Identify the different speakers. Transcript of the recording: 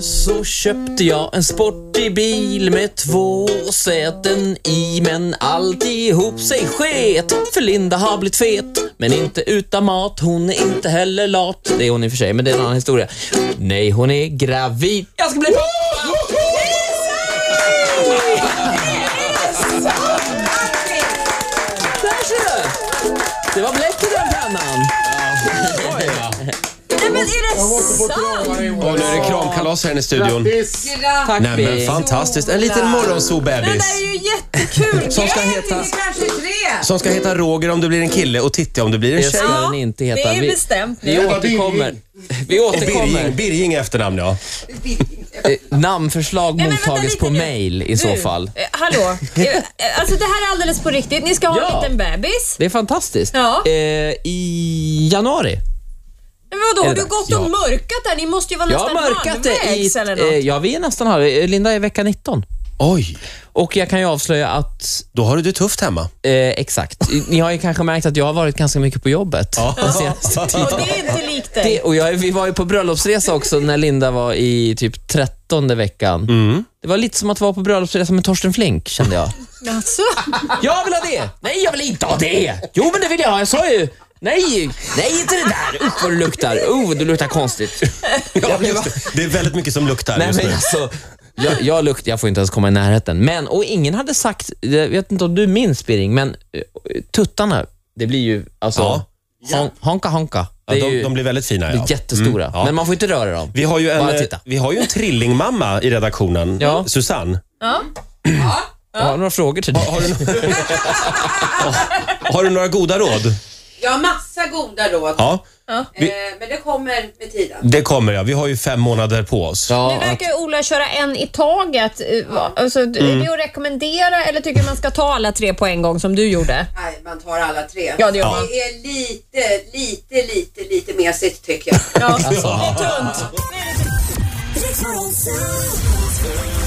Speaker 1: så köpte jag en sportig bil med två säten i men alltihop sig sket för Linda har blivit fet men inte utan mat. Hon är inte heller lat. Det är hon i och för sig, men det är en annan historia. Nej, hon är gravid. Jag ska bli pappa! Där ser du! Det var bläck i den pennan.
Speaker 2: Nej men är det
Speaker 3: Och nu är det kramkalas här i studion.
Speaker 4: Grattis!
Speaker 2: sant?
Speaker 1: Tack
Speaker 3: Nej men
Speaker 1: Bi.
Speaker 3: fantastiskt. En liten
Speaker 2: Det
Speaker 3: morgonsobebis.
Speaker 2: där är ju jättekul!
Speaker 3: Som ska heta-
Speaker 2: Grattis, kanske
Speaker 3: Som ska heta Roger om det blir en kille och Titti om det blir en
Speaker 1: Det
Speaker 3: tjej.
Speaker 1: ska den inte heta.
Speaker 2: det är
Speaker 1: Vi-
Speaker 2: bestämt nu.
Speaker 1: Vi
Speaker 4: Ebba Birging.
Speaker 1: återkommer. Vi
Speaker 3: Och
Speaker 1: återkommer.
Speaker 3: Birging, Birging är efternamn ja.
Speaker 1: Eh, Namnförslag
Speaker 2: men vänta
Speaker 1: mottages
Speaker 2: lite
Speaker 1: på
Speaker 2: nu.
Speaker 1: mail i
Speaker 2: Du,
Speaker 1: så fall.
Speaker 2: Eh, hallå, Eh, eh, alltså det här är alldeles på riktigt. Ni ska ha
Speaker 1: Ja.
Speaker 2: en liten bebis.
Speaker 1: Det är fantastiskt.
Speaker 2: Ja.
Speaker 1: Eh, I januari.
Speaker 2: Men vadå,
Speaker 1: Är
Speaker 2: har
Speaker 1: det
Speaker 2: du
Speaker 1: dags?
Speaker 2: gått och
Speaker 1: Ja.
Speaker 2: mörkat där? Ni måste ju vara
Speaker 1: Jag har
Speaker 2: nästan
Speaker 1: mörkat det i...
Speaker 2: halvvägs eller
Speaker 1: eh,
Speaker 2: något.
Speaker 1: Ja, vi är nästan halv. eh, Linda är vecka 19.
Speaker 3: Oj,
Speaker 1: Och jag kan ju avslöja att,
Speaker 3: då har du det tufft hemma.
Speaker 1: eh, exakt, ni har ju kanske märkt att jag har varit ganska mycket på jobbet den senaste tiden.
Speaker 2: Och det är inte likt dig.
Speaker 1: Det, och jag, vi var ju på bröllopsresa också när Linda var i typ trettonde veckan. Det var lite som att vara på bröllopsresa med Torsten Flink kände jag.
Speaker 2: Alltså,
Speaker 1: Jag vill ha det! Nej, jag vill inte ha det! Jo, men det vill jag ha. Jag sa ju... Nej, nej inte det där! Usch vad du luktar. Oh, du luktar konstigt.
Speaker 3: Ja, just det. det är väldigt mycket som luktar
Speaker 1: Nej,
Speaker 3: just
Speaker 1: men
Speaker 3: nu.
Speaker 1: alltså, jag, jag, lukt, jag får inte ens komma i närheten. Men, och ingen hade sagt, jag vet inte om du minns Birring, men eh, tuttarna, det blir ju alltså...
Speaker 3: Ja.
Speaker 1: Hon, honka honka.
Speaker 3: Ja,
Speaker 1: Det är
Speaker 3: de,
Speaker 1: ju,
Speaker 3: de blir väldigt fina ja. Mm,
Speaker 1: jättestora.
Speaker 3: ja.
Speaker 1: Men man får inte röra dem.
Speaker 3: Vi har ju en,
Speaker 1: Bara titta.
Speaker 3: vi har ju en trillingmamma i redaktionen,
Speaker 1: Ja.
Speaker 3: Susanne.
Speaker 1: Jag har några frågor till dig.
Speaker 3: Har du, no- har du några goda råd?
Speaker 5: Jag har massa goda råd,
Speaker 3: Ja, vi,
Speaker 5: eh, men det kommer med tiden.
Speaker 3: det kommer jag. Vi har ju fem månader på oss.
Speaker 1: Ja,
Speaker 2: nu verkar ju Ola köra en i taget. Eh, va- Alltså, Är
Speaker 1: Mm.
Speaker 2: det att rekommendera eller tycker du man ska ta alla tre på en gång som du gjorde?
Speaker 5: Nej, man tar alla tre.
Speaker 2: Ja, det gör man.
Speaker 5: Det är lite, lite, lite, lite mesigt tycker jag.
Speaker 2: Ja, det är tunt.
Speaker 6: Riksmorgon, så.